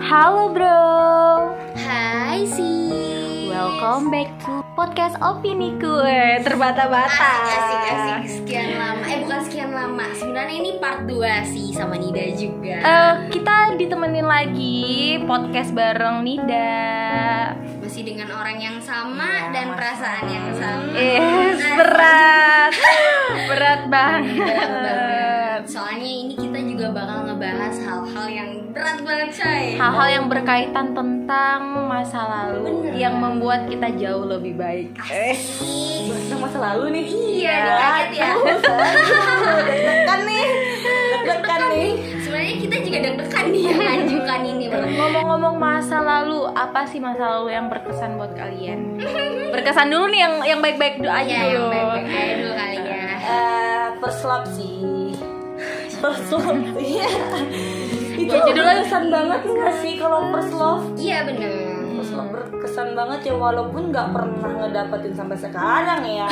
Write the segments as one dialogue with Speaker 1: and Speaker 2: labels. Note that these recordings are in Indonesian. Speaker 1: Halo bro,
Speaker 2: Hai sis
Speaker 1: welcome back to podcast opini kue terbata-bata.
Speaker 2: Asik asik asik Sekian lama Eh bukan sekian lama Sebenarnya ini part 2 sih Sama Nida juga
Speaker 1: Eh, kita ditemenin lagi podcast bareng Nida.
Speaker 2: Masih dengan orang yang sama Dan perasaan yang sama Nah,
Speaker 1: Yes,
Speaker 2: Asik.
Speaker 1: berat, berat
Speaker 2: Berat
Speaker 1: banget.
Speaker 2: banget. Soalnya ini kita juga bakal ngebahas hal-hal yang berat banget coy
Speaker 1: Hal-hal yang berkaitan tentang masa lalu
Speaker 2: Bener.
Speaker 1: yang membuat kita jauh lebih baik. Eh,
Speaker 2: Asik.
Speaker 3: masa lalu nih
Speaker 2: Iya dikaget ya
Speaker 3: deg-degan nih deg-degan nih
Speaker 2: Sebenarnya kita juga deg-degan nih Yang ngajukan ini
Speaker 1: Ngomong-ngomong masa lalu, apa sih masa lalu yang berkesan buat kalian? Berkesan dulu nih yang yang baik-baik dulu aja
Speaker 2: Iya yang
Speaker 1: dulu.
Speaker 2: baik-baik aja dulu kali ya
Speaker 3: Eh, first love sih first love iya itu
Speaker 1: Ya, judulnya-
Speaker 3: berkesan banget nggak sih kalau first love
Speaker 2: Iya bener
Speaker 3: first love berkesan banget ya walaupun nggak pernah ngedapetin sampai sekarang ya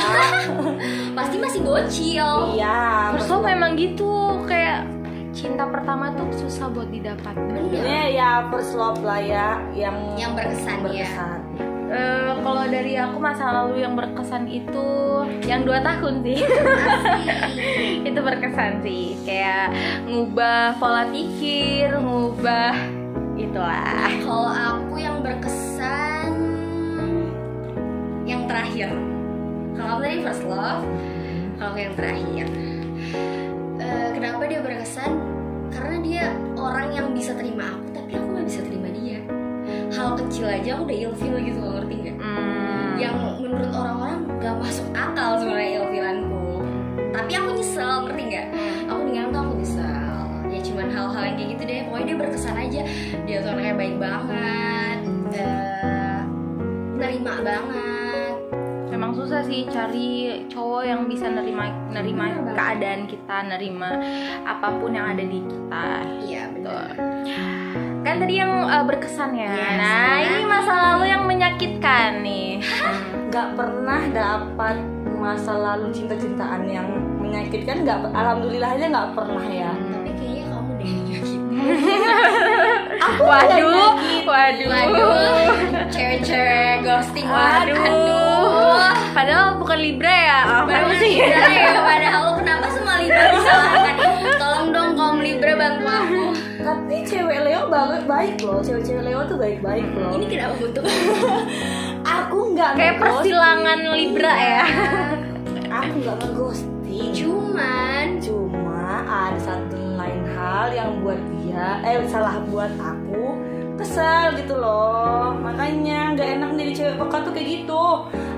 Speaker 2: Pasti masih bocil
Speaker 3: iya
Speaker 1: Terus lo
Speaker 2: ya?
Speaker 1: memang gitu kayak cinta pertama tuh susah buat didapat.
Speaker 2: Iya.
Speaker 3: maksudnya ya first love lah ya yang
Speaker 2: yang berkesan, ya
Speaker 3: berkesan
Speaker 1: Eh, kalau dari aku masa lalu yang berkesan itu yang dua tahun sih. itu berkesan sih kayak ngubah pola pikir, ngubah itulah.
Speaker 2: Eh, kalau aku yang berkesan yang terakhir kalau kamu tadi first love kalau aku yang terakhir Eh, kenapa dia berkesan karena dia orang yang bisa terima aku tapi aku nggak bisa terima dia hal kecil aja aku udah ilfil gitu loh, ngerti nggak
Speaker 1: Hmm.
Speaker 2: yang menurut orang-orang gak masuk akal sebenarnya ilfilanku tapi aku nyesel ngerti nggak aku dengan tuh aku nyesel ya cuman hal-hal yang kayak gitu deh pokoknya dia berkesan aja dia tuh orangnya baik banget eh, nerima banget
Speaker 1: Memang susah sih cari cowok yang bisa nerima nerima
Speaker 2: Bener banget.
Speaker 1: keadaan kita, nerima apapun yang ada di kita.
Speaker 2: iya betul
Speaker 1: Kan tadi yang uh, berkesan ya.
Speaker 2: Yes.
Speaker 1: Nah, ini masa lalu yang menyakitkan nih.
Speaker 3: nggak pernah dapat masa lalu cinta-cintaan yang menyakitkan nggak alhamdulillah aja nggak pernah ya
Speaker 2: tapi kayaknya kamu deh yang gitu
Speaker 1: waduh, waduh,
Speaker 2: waduh cewek-cewek ghosting banget.
Speaker 1: Waduh. Padahal bukan Libra ya. Apa
Speaker 2: Padahal
Speaker 1: sih?
Speaker 2: Libra ya, padahal lu kenapa semua Libra disalahkan? Tolong dong kaum Libra bantu aku.
Speaker 3: tapi Kan, cewek Leo banget baik loh cewek-cewek Leo tuh baik-baik loh
Speaker 2: Ini kenapa untuk
Speaker 3: aku nggak
Speaker 1: Kayak
Speaker 3: ngeghosting.
Speaker 1: persilangan Libra ya.
Speaker 3: aku nggak ngeghosting
Speaker 2: Cuman
Speaker 3: cuma ada satu lain hal yang buat dia eh salah buat aku kesel gitu loh makanya nggak enak jadi cewek peka tuh kayak gitu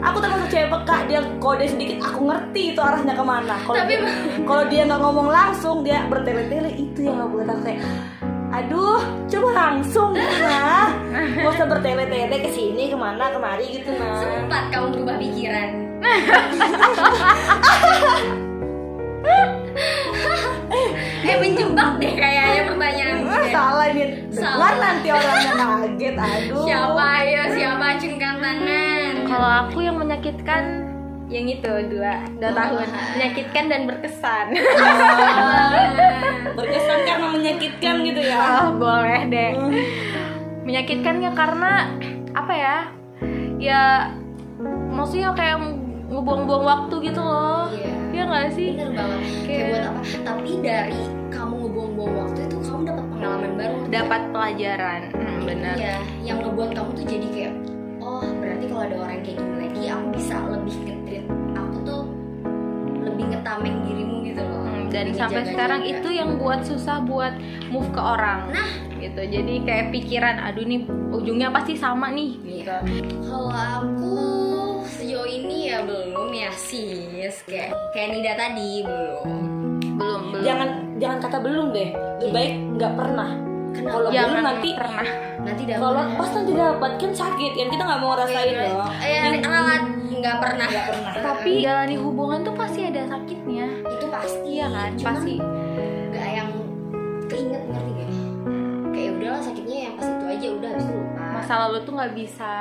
Speaker 3: aku termasuk cewek peka dia kode sedikit aku ngerti itu arahnya kemana kalau
Speaker 2: Tapi-
Speaker 3: dia, kalau dia nggak ngomong langsung dia bertele-tele itu yang nggak buat aku kayak aduh coba langsung gitu nah nggak usah bertele-tele ke sini kemana kemari gitu nah
Speaker 2: sempat kamu berubah pikiran. eh menjebak deh kayaknya pertanyaan
Speaker 3: Ah, salah nih
Speaker 2: Salah.
Speaker 3: Dewan nanti orangnya kaget aduh
Speaker 2: Siapa ya siapa cengkang tangan?
Speaker 1: Kalau aku yang menyakitkan yang itu dua dua tahun menyakitkan dan berkesan.
Speaker 3: berkesan karena menyakitkan gitu ya
Speaker 1: Oh, boleh deh.
Speaker 2: Hmm.
Speaker 1: Menyakitkannya karena apa ya? Ya maksudnya kayak ngebuang-buang waktu gitu loh.
Speaker 2: Iya.
Speaker 1: Iya nggak sih?
Speaker 2: Bener banget. Kayak buat apa? Tapi dari kamu ngebuang-buang waktu itu kamu dapat pengalaman baru.
Speaker 1: Dapat pelajaran. Hmm, bener.
Speaker 2: Iya, yang ngebuat kamu tuh jadi kayak oh berarti kalau ada orang kayak gini lagi aku bisa lebih ngetrit aku tuh lebih ngetameng dirimu gitu loh
Speaker 1: Hmm, dan
Speaker 2: Lebih
Speaker 1: sampai
Speaker 2: ngejaga-jaga.
Speaker 1: sekarang itu yang buat susah buat move ke orang. Nah, gitu. Jadi kayak pikiran, aduh nih ujungnya pasti sama nih gitu.
Speaker 2: Iya. kalau aku sejauh ini ya belum ya sis kayak kayak Nida tadi belum
Speaker 1: Belum, belum.
Speaker 3: jangan jangan kata belum deh lebih baik nggak pernah
Speaker 2: Kenapa?
Speaker 3: kalau belum
Speaker 1: Jangan
Speaker 3: nanti
Speaker 1: pernah.
Speaker 2: nanti ya. dapat
Speaker 3: kalau pas nanti dapat kan sakit kan kita nggak mau ngerasain loh
Speaker 2: eh ralat nggak pernah nggak pernah
Speaker 1: Tapi jalani hubungan tuh pasti ada sakitnya.
Speaker 2: itu pasti
Speaker 1: Iya kan?
Speaker 2: Cuman
Speaker 1: Pasti.
Speaker 2: nggak yang keinget ngerti gak kayak udahlah sakitnya yang pas itu aja udah habis itu lupa
Speaker 1: Masa lalu tuh nggak bisa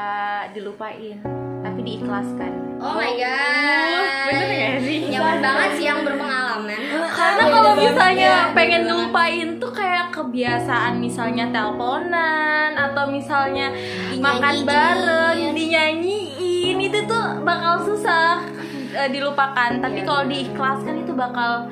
Speaker 1: dilupain, tapi diikhlaskan.
Speaker 2: Oh my god.
Speaker 1: Bener nggak sih?
Speaker 2: Nyaman banget sih yang berpengalaman.
Speaker 3: karena
Speaker 1: kalau
Speaker 3: kalau
Speaker 1: misalnya
Speaker 2: Iya,
Speaker 1: pengen
Speaker 2: bener banget.
Speaker 1: ngelupain tuh kayak kebiasaan misalnya teleponan atau misalnya makan bareng, dinyanyiin itu tuh bakal susah eh, dilupakan. Tapi
Speaker 2: Iya.
Speaker 1: kalau diikhlaskan itu bakal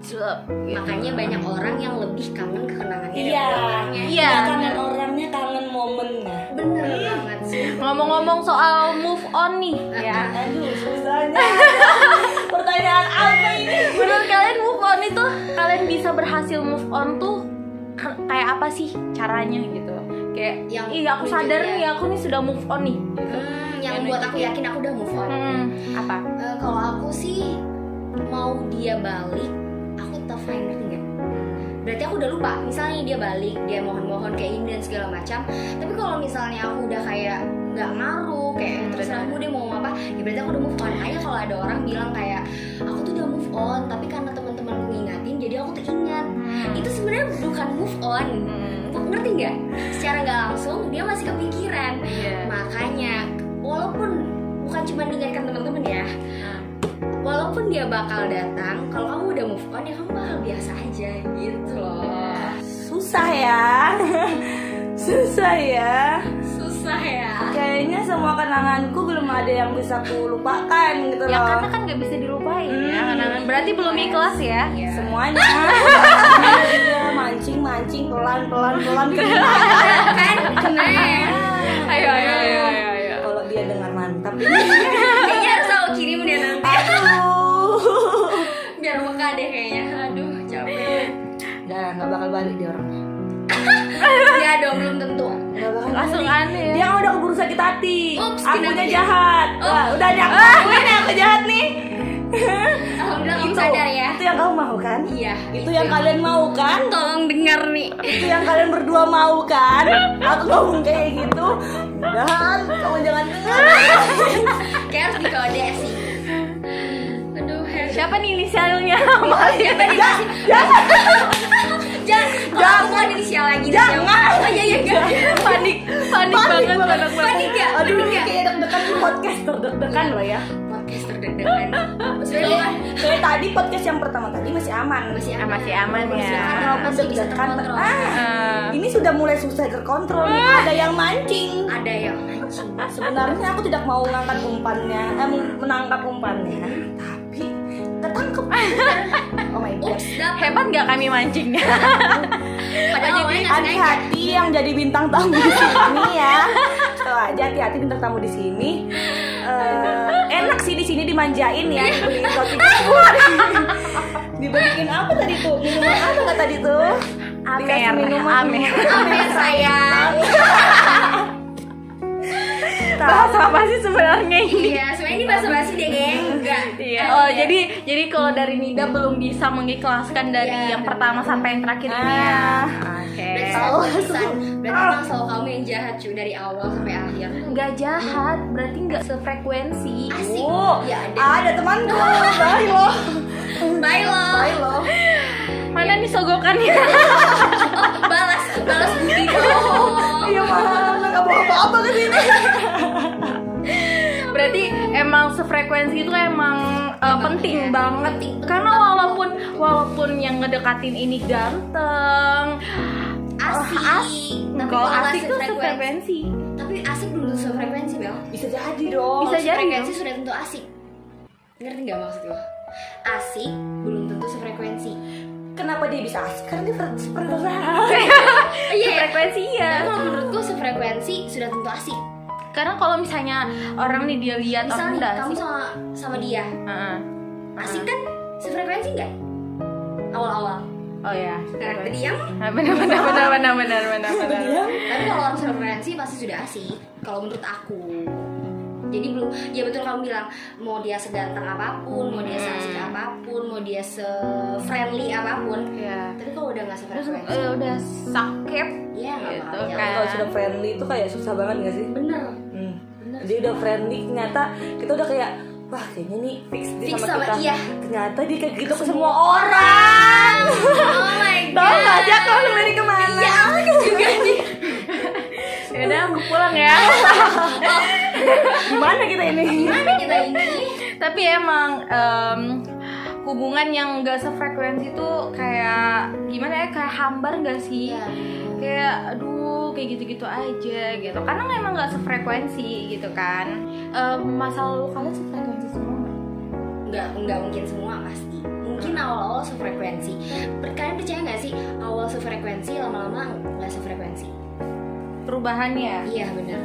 Speaker 1: jelek.
Speaker 2: makanya banyak orang yang lebih kangen kekenangan
Speaker 3: Iya.
Speaker 1: Iya.
Speaker 3: kangen orangnya kangen momennya
Speaker 2: bener banget sih
Speaker 1: Ngomong-ngomong soal move on nih, ya.
Speaker 3: aduh susahnya pertanyaan apa ini
Speaker 1: Menurut kalian move on itu kalian bisa berhasil move on tuh ke- kayak apa sih caranya gitu? Kayak yang
Speaker 2: Yang
Speaker 1: iya aku sadar
Speaker 2: iya.
Speaker 1: nih aku nih sudah move on nih.
Speaker 2: Hmm,
Speaker 1: Yang
Speaker 2: yang buat aku
Speaker 1: gitu.
Speaker 2: yakin aku udah move on
Speaker 1: Hmm, apa?
Speaker 2: Eh, kalau aku sih mau dia balik aku telepon ngerti nggak berarti aku udah lupa misalnya dia balik dia mohon-mohon kayak ini dan segala macam tapi kalau misalnya aku udah kayak nggak ngaruh kayak terus
Speaker 1: Benar.
Speaker 2: aku dia mau ngomong apa ya berarti aku udah move on aja kalau ada orang bilang kayak aku tuh udah move on tapi karena teman-temanku ngingatin jadi aku tuh ingat
Speaker 1: Hmm.
Speaker 2: itu sebenarnya bukan move on ngerti nggak secara nggak langsung dia masih kepikiran
Speaker 1: Iya.
Speaker 2: makanya walaupun bukan cuma diingatkan teman-teman ya
Speaker 3: Hmm.
Speaker 2: walaupun dia bakal datang kalau kamu udah move on ya kamu bakal biasa aja gitu loh
Speaker 3: susah ya susah ya
Speaker 2: susah ya
Speaker 3: kayaknya semua kenanganku belum ada yang bisa ku lupakan gitu
Speaker 1: Ya
Speaker 3: loh
Speaker 1: karena kan nggak bisa dilupain ya.
Speaker 3: Hmm.
Speaker 1: kenangan. Berarti belum ikhlas ya.
Speaker 3: semuanya mancing mancing pelan pelan pelan kena
Speaker 2: kan
Speaker 1: Ayo ayo ayo ayo. ayo.
Speaker 3: kalau dia dengar mantap
Speaker 2: kayaknya harus aku kirim
Speaker 1: ya
Speaker 2: deh nanti
Speaker 3: aduh
Speaker 2: biar meka deh kayaknya aduh capek
Speaker 3: nggak nggak bakal balik dia orangnya
Speaker 2: ya dong belum tentu
Speaker 3: nggak bakal
Speaker 1: Langsung aneh. ya.
Speaker 3: dia kan udah keburu sakit hati
Speaker 2: Ups,
Speaker 3: akunya
Speaker 2: kena dia.
Speaker 3: jahat Wah, udah ada aku
Speaker 1: Ah.
Speaker 3: ini aku jahat nih
Speaker 2: alhamdulillah kamu sadar ya
Speaker 3: itu yang kamu mau kan
Speaker 2: iya
Speaker 3: itu yang kalian mau kan
Speaker 2: tolong dengar nih
Speaker 3: itu yang kalian berdua mau kan aku ngomong kayak gitu dan kamu jangan dengar
Speaker 2: kayak harus dikode sih aduh harus
Speaker 1: Siapa nih inisialnya?
Speaker 2: Siapa nih?
Speaker 3: jangan jangan
Speaker 2: jangan kalau aku ada inisial lagi jangan oh iya iya iya
Speaker 1: ya kan? panik, panik, banget, panik banget. Kan
Speaker 2: panik ya
Speaker 3: aduh ini kayak deg-degan nih podcast terdeg-degan loh ya
Speaker 2: podcast terdeg-degan sebenarnya
Speaker 3: kayak, kayak tadi podcast yang pertama tadi masih aman
Speaker 2: masih
Speaker 1: Ah,
Speaker 2: aman ya?
Speaker 1: masih aman ya.
Speaker 3: Walaupun
Speaker 2: masih bisa
Speaker 3: deg-degan
Speaker 2: terkontrol Ah.
Speaker 3: ah,
Speaker 1: Eh,
Speaker 3: ini sudah mulai susah terkontrol nih. ada yang mancing Ah,
Speaker 2: ada yang mancing
Speaker 3: sebenarnya aku tidak mau ngangkat umpannya eh men- menangkap umpannya tapi ketangkep oh my god
Speaker 2: ups dapat
Speaker 1: hebat nggak kami mancingnya?
Speaker 2: padahal awalnya nggak sengaja Iya,
Speaker 3: hati-hati yang jadi bintang tamu di sini ya Tuh aja hati-hati bintang tamu di sini Eh, enak sih di sini dimanjain ya dibeliin roti kebun dibeliin apa tadi tuh minuman apa nggak tadi tuh Dikasih
Speaker 1: Amer,
Speaker 3: minuman,
Speaker 1: amer.
Speaker 3: minuman.
Speaker 2: apa ya sayang
Speaker 1: Bahasa apa sih sebenarnya ini?
Speaker 2: iya sebenarnya ini bahasa basi deh geng enggak
Speaker 1: Iya. Oh jadi jadi kalau dari Nida belum bisa mengikhlaskan dari
Speaker 2: Iya,
Speaker 1: yang
Speaker 2: benar.
Speaker 1: pertama sampai yang terakhir ini ya.
Speaker 3: Ah.
Speaker 1: Oke.
Speaker 2: berarti
Speaker 3: Tahu.
Speaker 2: selalu pesan berarti emang selalu kamu yang jahat cuy dari awal sampai akhir
Speaker 1: Nggak jahat, berarti nggak sefrekuensi.
Speaker 2: asik
Speaker 3: Oh,
Speaker 2: ya ada
Speaker 3: ada temanku bye loh
Speaker 2: bye lo
Speaker 3: bye loh
Speaker 1: Mana nih sogokannya?
Speaker 2: balas balas budi dong
Speaker 3: iya malah nggak bawa apa-apa ke sini
Speaker 1: berarti emang sefrekuensi itu emang uh, penting banget karena walaupun walaupun yang ngedekatin ini ganteng
Speaker 2: asik tapi
Speaker 1: kalau
Speaker 2: nggak
Speaker 1: asik tuh
Speaker 2: sefrekuensi.
Speaker 1: sefrekuensi
Speaker 2: tapi asik belum sefrekuensi bel
Speaker 3: bisa jadi dong
Speaker 1: Bisa jadi
Speaker 2: frekuensi
Speaker 1: dong.
Speaker 2: sudah tentu asik ngerti nggak maksud lo asik belum tentu sefrekuensi
Speaker 3: kenapa dia bisa asik karena dia per- pernah
Speaker 1: sefrekuensi ya
Speaker 2: tapi Iya, kalau menurutku sefrekuensi sudah tentu asik
Speaker 1: karena kalau misalnya orang nih dia lihat "Oh, orang
Speaker 2: misalnya
Speaker 1: udah
Speaker 2: kamu
Speaker 1: asik
Speaker 2: sama sama dia
Speaker 1: Heeh. Ah.
Speaker 2: asik kan sefrekuensi nggak awal-awal
Speaker 1: oh ya
Speaker 2: karena berdiam
Speaker 1: benar benar benar benar benar benar benar
Speaker 2: tapi kalau orang sefrekuensi pasti sudah asik kalau menurut aku jadi belum ya betul kamu bilang mau dia seganteng apapun mau dia
Speaker 1: Hmm.
Speaker 2: seasik apapun mau dia se friendly apapun
Speaker 1: ya
Speaker 2: tapi kalau udah nggak
Speaker 1: terus
Speaker 2: sefrekuensi
Speaker 1: eh, udah sakit
Speaker 2: ya nggak
Speaker 1: Gitu
Speaker 2: bakal jalan.
Speaker 1: kan.
Speaker 3: kalau sudah friendly itu kayak susah banget gak sih
Speaker 2: bener
Speaker 3: hmm.
Speaker 2: bener
Speaker 3: dia udah friendly ternyata kita udah kayak wah kayaknya nih fix dia
Speaker 2: Fix
Speaker 3: sama,
Speaker 2: sama
Speaker 3: kita
Speaker 2: dia.
Speaker 3: ternyata dia kayak gitu ke semua orang
Speaker 2: oh my
Speaker 3: tau gak aja kalau dari kemana
Speaker 1: Iya,
Speaker 2: ya aku juga nih
Speaker 1: ya udah aku pulang ya
Speaker 3: gimana kita ini
Speaker 2: gimana kita ini
Speaker 1: tapi emang em, hubungan yang gak sefrekuensi tuh kayak gimana ya kayak hambar gak sih
Speaker 2: Iya.
Speaker 1: kayak aduh kayak gitu-gitu aja gitu karena memang nggak sefrekuensi gitu kan Em, masa lalu kalian sefrekuensi semua nggak?
Speaker 2: nggak nggak mungkin semua pasti mungkin awal-awal sefrekuensi Per- kalian percaya nggak sih awal sefrekuensi lama-lama nggak sefrekuensi
Speaker 1: perubahannya
Speaker 2: iya benar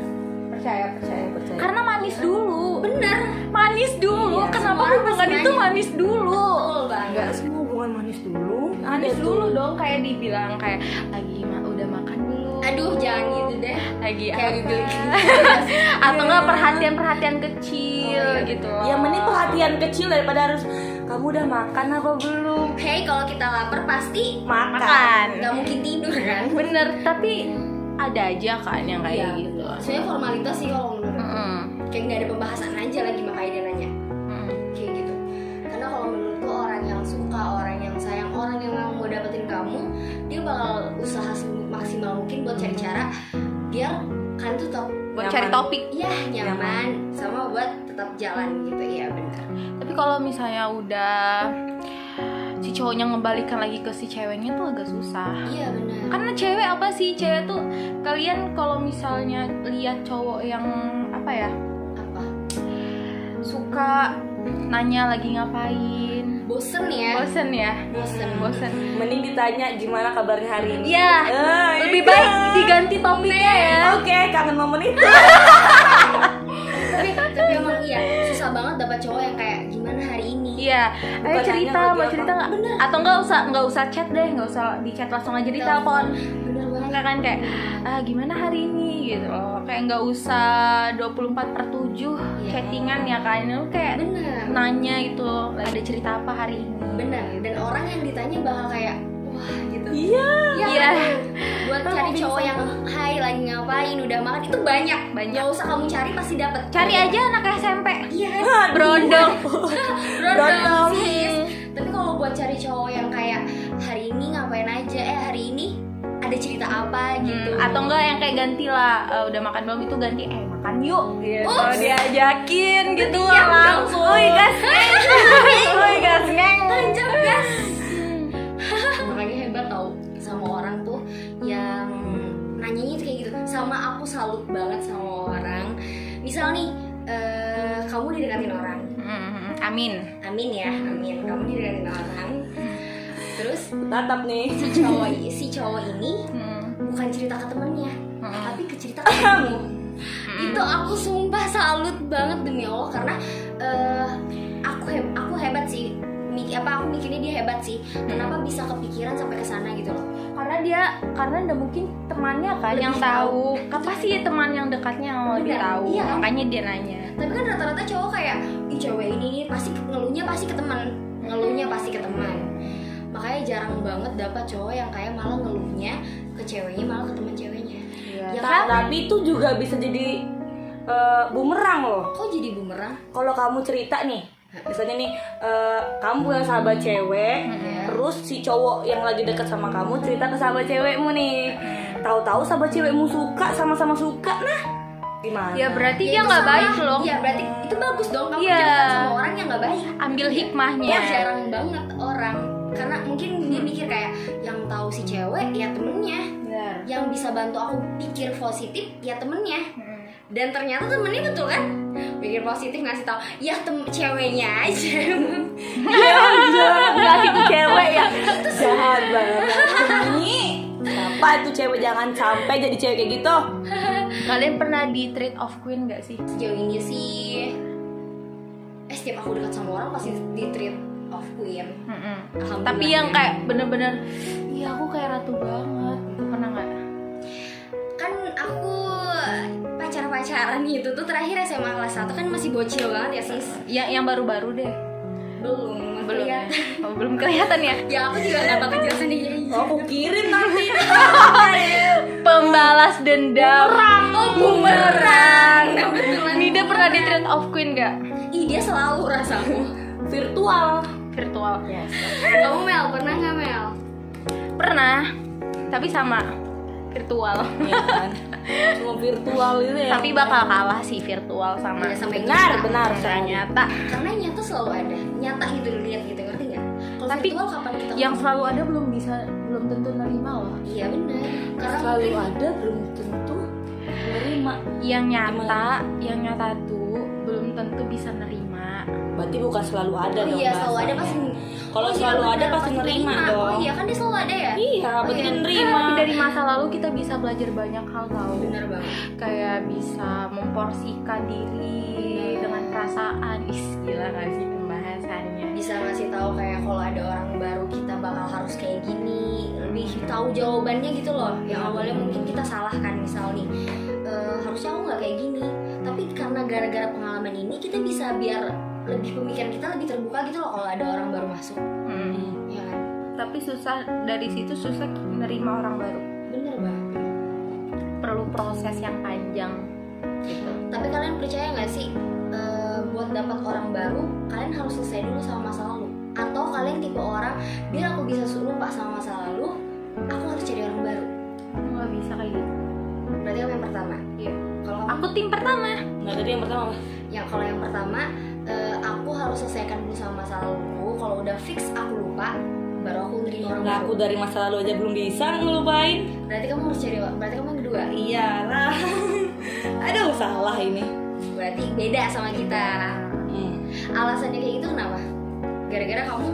Speaker 1: percaya percaya
Speaker 3: percaya.
Speaker 1: karena manis dulu
Speaker 2: benar
Speaker 1: manis dulu
Speaker 3: Iya,
Speaker 1: kenapa
Speaker 2: semua orang
Speaker 1: hubungan
Speaker 2: pasti
Speaker 1: itu
Speaker 2: nanya.
Speaker 1: manis dulu
Speaker 2: betul banget
Speaker 3: Enggak semua hubungan manis dulu.
Speaker 1: manis
Speaker 3: Ada
Speaker 1: dulu
Speaker 3: tuh.
Speaker 1: dong kayak dibilang kayak lagi ma- udah makan belum
Speaker 2: aduh jangan gitu deh
Speaker 1: lagi
Speaker 2: kayak
Speaker 1: apa?
Speaker 2: geli gitu.
Speaker 1: atau nggak perhatian perhatian kecil
Speaker 2: Iya. Oh, iya.
Speaker 1: gitu
Speaker 3: Yang penting ya, perhatian kecil daripada harus kamu udah makan apa belum?
Speaker 2: hey kalau kita lapar pasti
Speaker 3: Makan.
Speaker 1: makan
Speaker 2: nggak mungkin tidur kan
Speaker 1: bener tapi ada aja kan yang kayak
Speaker 2: Iya,
Speaker 1: gitu
Speaker 2: benar. Sebenarnya formalitas sih kalau menurut aku.
Speaker 1: Mm-mm.
Speaker 2: kayak nggak ada pembahasan aja lagi makanya dia nanya
Speaker 1: Mm.
Speaker 2: kayak gitu karena kalau menurut tuh orang yang suka orang yang sayang orang yang memang mau dapetin kamu dia bakal usaha semaksimal mungkin buat cari cara biar kalian tuh tetap
Speaker 1: buat
Speaker 3: Nyaman.
Speaker 1: cari topik
Speaker 2: ya nyaman sama buat tetap jalan gitu ya benar
Speaker 1: tapi kalau misalnya udah si cowoknya ngebalikan lagi ke si ceweknya tuh agak susah
Speaker 2: iya benar
Speaker 1: karena cewek apa sih cewek tuh kalian kalau misalnya lihat cowok yang apa ya
Speaker 2: apa
Speaker 1: suka nanya lagi ngapain
Speaker 2: bosen ya
Speaker 1: bosen ya
Speaker 2: bosen
Speaker 1: bosen
Speaker 3: Mending ditanya gimana kabarnya hari ini.
Speaker 1: Iya,
Speaker 3: Eh,
Speaker 1: lebih
Speaker 3: iya.
Speaker 1: baik diganti topiknya ya
Speaker 3: Oke, kangen momen itu.
Speaker 2: tapi tapi emang iya susah banget dapat cowok yang kayak gimana hari ini
Speaker 1: Iya, ayo
Speaker 3: Bukan
Speaker 1: cerita,
Speaker 3: nanya lagi
Speaker 1: mau
Speaker 3: apa.
Speaker 1: cerita nggak? Atau nggak usah nggak usah chat deh, nggak usah di chat langsung aja di telepon.
Speaker 2: bener banget
Speaker 1: Enggak kan kayak ah, gimana hari ini gitu loh. Kayak nggak usah 24 per 7
Speaker 2: Iya.
Speaker 1: chattingan ya kan. Lu kayak
Speaker 2: bener
Speaker 1: nanya gitu, ada cerita apa hari ini?
Speaker 2: bener dan orang yang ditanya bakal kayak wah gitu
Speaker 3: Iya.
Speaker 1: Iya.
Speaker 2: buat
Speaker 3: Kalau
Speaker 2: cari
Speaker 3: bisa.
Speaker 2: cowok yang hai lagi ngapain udah makan itu banyak
Speaker 1: Banyak.
Speaker 2: nggak usah kamu cari pasti dapet
Speaker 1: Cari aja anak SMP.
Speaker 2: iya
Speaker 1: Brondong.
Speaker 2: berondong sis tapi kalau buat cari cowok yang kayak hari ini ngapain aja eh hari ini ada cerita apa gitu
Speaker 1: Hmm, atau enggak yang kayak ganti lah eh, udah makan belum itu ganti eh makan yuk
Speaker 3: Iya,
Speaker 1: gitu
Speaker 2: Ups.
Speaker 1: diajakin gitu
Speaker 2: Diam dong.
Speaker 1: langsung woi gas ngeng woi gas ngeng
Speaker 2: Anjir, guys. Ah, makanya hebat tau sama orang tuh yang nanyanya tuh kayak gitu sama aku salut banget sama orang misal nih eh, kamu didekatin orang
Speaker 1: Hmm, amin
Speaker 2: amin ya amin kamu didekatin orang terus
Speaker 3: Tatap nih.
Speaker 2: si cowok si cowok ini
Speaker 1: Hmm,
Speaker 2: bukan cerita ke temennya
Speaker 1: Hmm.
Speaker 2: tapi ke cerita ke kamu itu aku sumpah salut banget demi allah karena eh, aku he- aku hebat sih Mik- apa aku mikirnya dia hebat sih
Speaker 1: Hmm.
Speaker 2: kenapa bisa kepikiran sampai ke sana gitu loh
Speaker 1: karena dia karena udah mungkin temannya kan
Speaker 2: Lebih
Speaker 1: yang
Speaker 2: tahu.
Speaker 1: tahu apa sih teman yang dekatnya yang lebih
Speaker 2: Benar,
Speaker 1: tahu
Speaker 2: iya kan?
Speaker 1: makanya dia nanya
Speaker 2: tapi kan rata-rata cowok kayak ih cewek ini nih pasti ke- ngeluhnya pasti ke teman ngeluhnya pasti ke teman makanya jarang banget dapat cowok yang kayak malah ngeluhnya ke ceweknya malah ke teman ceweknya ya
Speaker 3: Ta-
Speaker 2: kan
Speaker 3: Tapi itu juga bisa jadi eh, bumerang loh.
Speaker 2: kok jadi bumerang
Speaker 3: Kalau kamu cerita nih, misalnya nih eh, kamu punya sahabat cewek, terus si cowok yang lagi deket sama kamu cerita ke sahabat cewekmu nih. Tahu-tahu sahabat cewekmu suka sama-sama suka, nah gimana?
Speaker 1: ya berarti
Speaker 2: Ya,
Speaker 1: dia
Speaker 2: itu
Speaker 1: nggak
Speaker 2: salah.
Speaker 1: baik loh
Speaker 2: Iya berarti itu bagus dong kamu
Speaker 1: Iya.
Speaker 2: jangan sama orang yang nggak baik.
Speaker 1: ambil hikmahnya
Speaker 2: Ya jarang banget orang karena mungkin dia mikir kayak yang tahu si cewek ya temennya,
Speaker 1: Benar.
Speaker 2: yang bisa bantu aku pikir positif ya temennya. Dan ternyata temennya betul kan? Pikir positif ngasih tahu ya tem ceweknya aja.
Speaker 3: Enggak sih Ya, itu cewek ya. Jahat banget. Ini Siapa itu cewek jangan sampai jadi cewek kayak gitu.
Speaker 1: kalian pernah di trade of queen nggak sih
Speaker 2: Sejauh ini sih, eh setiap aku dekat sama orang pasti di treat of queen.
Speaker 1: Mm-mm.
Speaker 2: Alhamdulillah.
Speaker 1: tapi yang kayak bener-bener iya aku kayak ratu banget itu pernah nggak
Speaker 2: kan aku pacar-pacaran gitu tuh terakhir SMA kelas 1 kan masih bocil banget ya sis
Speaker 1: yang yang baru-baru deh
Speaker 2: belum
Speaker 1: belum ya?
Speaker 2: kelihatan.
Speaker 1: Oh, belum kelihatan ya
Speaker 2: ya aku juga nggak bakal jelasin di
Speaker 3: Oh, aku kirim nanti.
Speaker 1: pembalas dendam
Speaker 2: oh bumerang nah, betulan
Speaker 1: Nida pernah di trade of queen nggak
Speaker 2: ih dia selalu rasaku
Speaker 3: Virtual.
Speaker 1: virtual
Speaker 2: kamu Mel pernah nggak Mel
Speaker 1: pernah tapi sama virtual
Speaker 3: Iya kan? Cuma virtual itu ya.
Speaker 1: tapi bakal kalah sih virtual sama
Speaker 2: Iya, sama yang
Speaker 1: benar
Speaker 2: nyata.
Speaker 1: benar sama yang nyata
Speaker 2: karena nyata selalu ada nyata gitu dilihat gitu ngerti nggak
Speaker 1: Tapi
Speaker 2: virtual kapan kita
Speaker 1: yang selalu ada belum bisa belum tentu nerima loh
Speaker 2: iya benar karena
Speaker 3: selalu ada belum tentu menerima
Speaker 1: yang nyata yang nyata tuh belum tentu bisa nerima
Speaker 3: berarti bukan selalu ada
Speaker 2: oh
Speaker 3: dong
Speaker 2: iya selalu ada
Speaker 3: bahasanya.
Speaker 2: pasti oh
Speaker 3: kalau
Speaker 2: iya,
Speaker 3: selalu ada
Speaker 2: benar,
Speaker 3: pasti nerima
Speaker 2: oh
Speaker 3: dong
Speaker 2: iya kan dia selalu ada ya
Speaker 3: iya berarti
Speaker 2: Iya.
Speaker 3: nerima
Speaker 1: tapi dari masa lalu kita bisa belajar banyak hal tau
Speaker 2: benar banget
Speaker 1: kayak bisa memporsikan
Speaker 2: Iya.
Speaker 1: diri dengan perasaan Ih, gila gak sih pembahasannya
Speaker 2: bisa ngasih tahu kayak kalau ada orang baru kita bakal harus kayak gini lebih tahu jawabannya gitu loh yang awalnya mungkin kita salah kan misal nih eh, harusnya aku nggak kayak gini tapi karena gara-gara pengalaman ini kita bisa biar lebih pemikiran kita lebih terbuka gitu loh kalau ada orang baru masuk
Speaker 1: Hmm.
Speaker 2: ya kan
Speaker 1: tapi susah dari situ susah nerima orang baru
Speaker 2: bener banget
Speaker 1: perlu proses yang panjang gitu
Speaker 2: tapi kalian percaya nggak sih eh, buat dapat orang baru kalian harus selesai dulu sama masa lalu atau kalian tipe orang biar aku bisa su- lupa sama masa lalu aku harus cari orang baru
Speaker 1: aku nggak bisa kayak gitu
Speaker 2: berarti kamu yang pertama
Speaker 1: Iya.
Speaker 2: kalau kamu-
Speaker 1: aku tim pertama
Speaker 3: nah tadi yang pertama apa?
Speaker 2: yang kalau yang pertama eh, aku harus selesaikan dulu sama masa laluku kalau udah fix aku lupa baru aku nerima orang
Speaker 3: nah
Speaker 2: baru
Speaker 3: aku dari masa lalu aja belum bisa ngelupain
Speaker 2: berarti kamu harus cari berarti kamu yang kedua
Speaker 3: iyalah aduh salah ini
Speaker 2: berarti beda sama
Speaker 3: Iya.
Speaker 2: kita
Speaker 3: Hmm,
Speaker 2: alasannya kayak gitu kenapa gara-gara kamu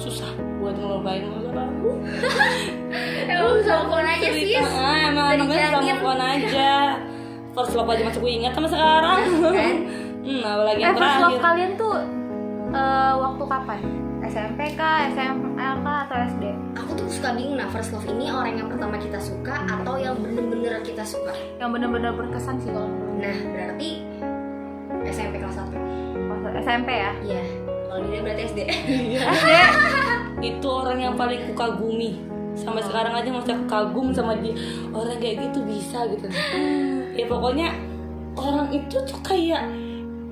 Speaker 3: susah buat ngelupain masa lalu
Speaker 2: emang telepon aja sih
Speaker 3: Cerita, ah, emang
Speaker 2: Eh, Dari
Speaker 3: namanya sama
Speaker 2: janin.
Speaker 3: telepon aja First love aja masih gue ingat sama sekarang
Speaker 2: Kan?
Speaker 3: hmm,
Speaker 1: eh
Speaker 3: apalagi yang
Speaker 1: first love
Speaker 3: terakhir
Speaker 1: kalian tuh eh, waktu kapan SMP kah SMA kah atau SD
Speaker 2: aku tuh suka bingung nah first love ini orang yang pertama kita suka atau yang bener-bener kita suka
Speaker 1: yang benar-benar berkesan sih kalau menurut
Speaker 2: nah berarti SMP kelas 1
Speaker 1: aku. SMP ya
Speaker 2: iya kalau dia berarti SD
Speaker 3: Iya.
Speaker 1: SD
Speaker 3: Itu orang yang paling kukagumi Sampai sekarang aja masih aku kagum sama dia Orang kayak gitu bisa gitu Ya pokoknya orang itu tuh kayak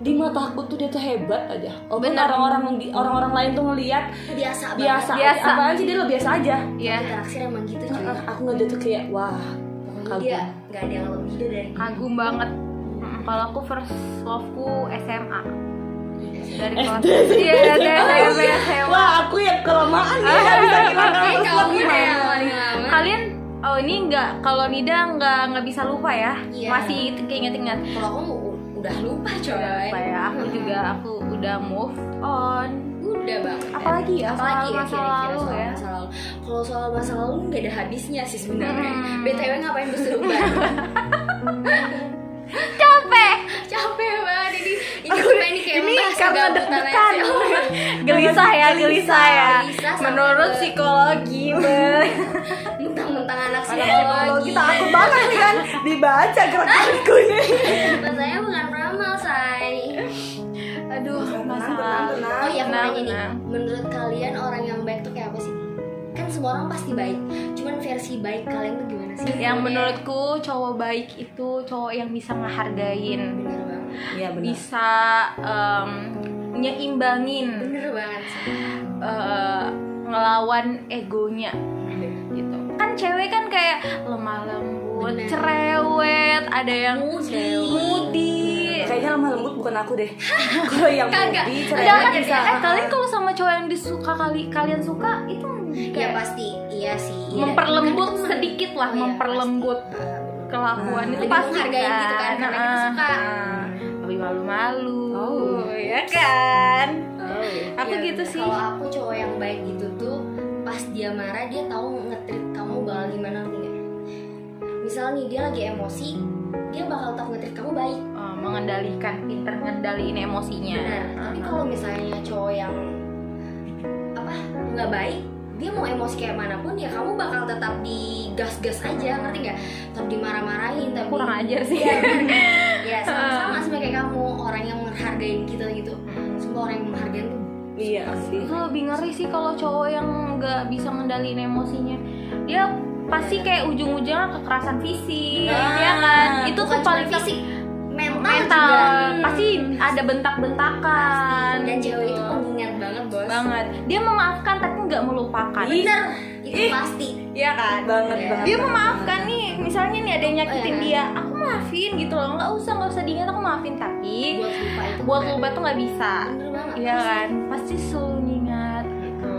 Speaker 3: di mata aku tuh dia tuh hebat aja. Oh,
Speaker 1: Benar.
Speaker 3: orang-orang orang-orang lain tuh ngelihat
Speaker 2: biasa banget
Speaker 3: biasa,
Speaker 1: Biasa.
Speaker 3: apaan sih dia lo biasa aja.
Speaker 1: ya
Speaker 2: interaksi emang gitu cuy
Speaker 3: Heeh, aku ngeliat dia tuh kayak wah
Speaker 2: Pokoknya
Speaker 3: kagum.
Speaker 2: dia Iya, nggak ada yang lebih dia dari
Speaker 1: kagum banget Mm, kalau aku first loveku SMA dari kelas
Speaker 3: SD.
Speaker 1: iya SD SMP SMA
Speaker 3: Wah aku yang kelamaan ya bisa bilang
Speaker 1: Oke,
Speaker 3: kalau
Speaker 1: kamu
Speaker 3: gimana.
Speaker 1: deh yang
Speaker 2: paling lama
Speaker 1: kalian oh ini nggak kalau Nida nggak nggak bisa lupa ya
Speaker 2: Iya.
Speaker 1: masih keinget-inget
Speaker 2: kalau aku u- udah lupa coy
Speaker 1: lupa ya aku juga aku udah move on
Speaker 2: udah banget
Speaker 1: apalagi ya
Speaker 2: apalagi ya
Speaker 1: soal masa
Speaker 2: kira-kira
Speaker 1: lalu
Speaker 2: soal
Speaker 1: ya
Speaker 2: masa lalu kalau soal masa lalu nggak ada habisnya sih sebenarnya
Speaker 1: Hmm.
Speaker 2: btw ngapain berseruban
Speaker 1: capek
Speaker 2: capek banget ini ini gue ini kayak
Speaker 1: ini
Speaker 2: membahas
Speaker 1: karena
Speaker 2: kegabutan aja.
Speaker 1: deg-degan gelisah ya gelisah ya Hmm.
Speaker 2: Gelisah sama
Speaker 1: menurut
Speaker 2: ke-
Speaker 1: psikologi Bel.
Speaker 2: mentang-mentang anak
Speaker 3: Kalau
Speaker 2: psikologi
Speaker 3: kita aku banget nih kan dibaca gerak-gerikku ini.
Speaker 2: saya bukan ramal say
Speaker 1: aduh masa
Speaker 3: tenang,
Speaker 1: lalu
Speaker 3: tenang.
Speaker 2: Oh iya aku
Speaker 1: Nah,
Speaker 2: nanya nih,
Speaker 1: nah.
Speaker 2: menurut kalian orang yang baik tuh kayak apa sih? Kan semua orang pasti baik, cuman versi baik kalian tuh gimana sih?
Speaker 1: yang menurutku cowok baik itu cowok yang bisa ngehargain
Speaker 2: bener banget,
Speaker 3: Iya
Speaker 1: Hmm. bisa em, nyeimbangin
Speaker 2: bener banget.
Speaker 1: eh, ngelawan egonya gitu kan cewek kan kayak lemah lembut
Speaker 2: Bener.
Speaker 1: cerewet ada yang
Speaker 2: Moody.
Speaker 1: moody
Speaker 3: Kayaknya lemah lembut bukan aku deh. Kalau yang
Speaker 2: Kagak.
Speaker 3: Budi,
Speaker 1: Enggak
Speaker 3: cerewet
Speaker 1: kan,
Speaker 3: bisa.
Speaker 1: eh
Speaker 2: ah.
Speaker 1: kalian kalau sama cowok yang disuka kali kalian suka itu
Speaker 2: Ya
Speaker 1: kayak
Speaker 2: pasti, iya sih. iya.
Speaker 1: memperlembut
Speaker 2: Kan itu
Speaker 1: sedikit lah,
Speaker 2: Oh iya,
Speaker 1: memperlembut
Speaker 2: pasti. Ah, bener.
Speaker 1: kelakuan itu
Speaker 2: Lebih
Speaker 1: pasti
Speaker 2: menghargai gitu kan, karena kita
Speaker 1: Ah,
Speaker 2: suka.
Speaker 1: ah. lebih malu-malu
Speaker 3: Oh.
Speaker 1: ya kan aku
Speaker 2: Iya,
Speaker 1: gitu
Speaker 2: bener.
Speaker 1: sih
Speaker 2: Kalau aku cowok yang baik itu tuh pas dia marah dia tahu ngetrit kamu bakal gimana nih. Misal nih dia lagi emosi, dia bakal tetap ngetrit kamu baik.
Speaker 1: Oh, mengendalikan pinter ngendaliin emosinya
Speaker 2: Benar. Tapi
Speaker 1: Ah,
Speaker 2: kalau misalnya cowok yang apa nggak baik, dia mau emosi kayak manapun ya kamu bakal tetap digas-gas aja, ngerti nggak? Tetap dimarah-marahin, tapi
Speaker 1: kurang ajar sih
Speaker 2: Iya, bener. ya sama-sama sama kayak kamu orang yang menghargai kita gitu. Semua orang yang menghargai tuh
Speaker 3: Iya sih.
Speaker 1: Hmm. itu lebih ngeri sih kalau cowok yang nggak bisa ngendaliin emosinya dia pasti kayak ujung-ujungnya kekerasan fisik
Speaker 3: Nah,
Speaker 1: ya kan itu
Speaker 2: bukan
Speaker 1: tuh
Speaker 2: cuma
Speaker 1: paling
Speaker 2: fisik, mental,
Speaker 1: mental
Speaker 2: juga.
Speaker 1: pasti ada bentak-bentakan
Speaker 2: dan cewek itu
Speaker 1: gitu.
Speaker 2: pengingat banget bos.
Speaker 1: banget dia memaafkan tapi nggak melupakan
Speaker 2: Ah, Bener, itu
Speaker 3: Ih.
Speaker 2: pasti.
Speaker 1: Iya kan iya
Speaker 3: Banget
Speaker 2: Iya.
Speaker 3: banget.
Speaker 1: dia memaafkan nih misalnya nih ada yang nyakitin
Speaker 2: Oh,
Speaker 1: dia aku maafin gitu loh nggak usah nggak usah diingat aku maafin tapi
Speaker 2: Buat lupa itu.
Speaker 1: buat
Speaker 2: bener.
Speaker 1: lupa tuh nggak bisa
Speaker 2: Bener banget.
Speaker 1: iya kan pasti selalu ingat gitu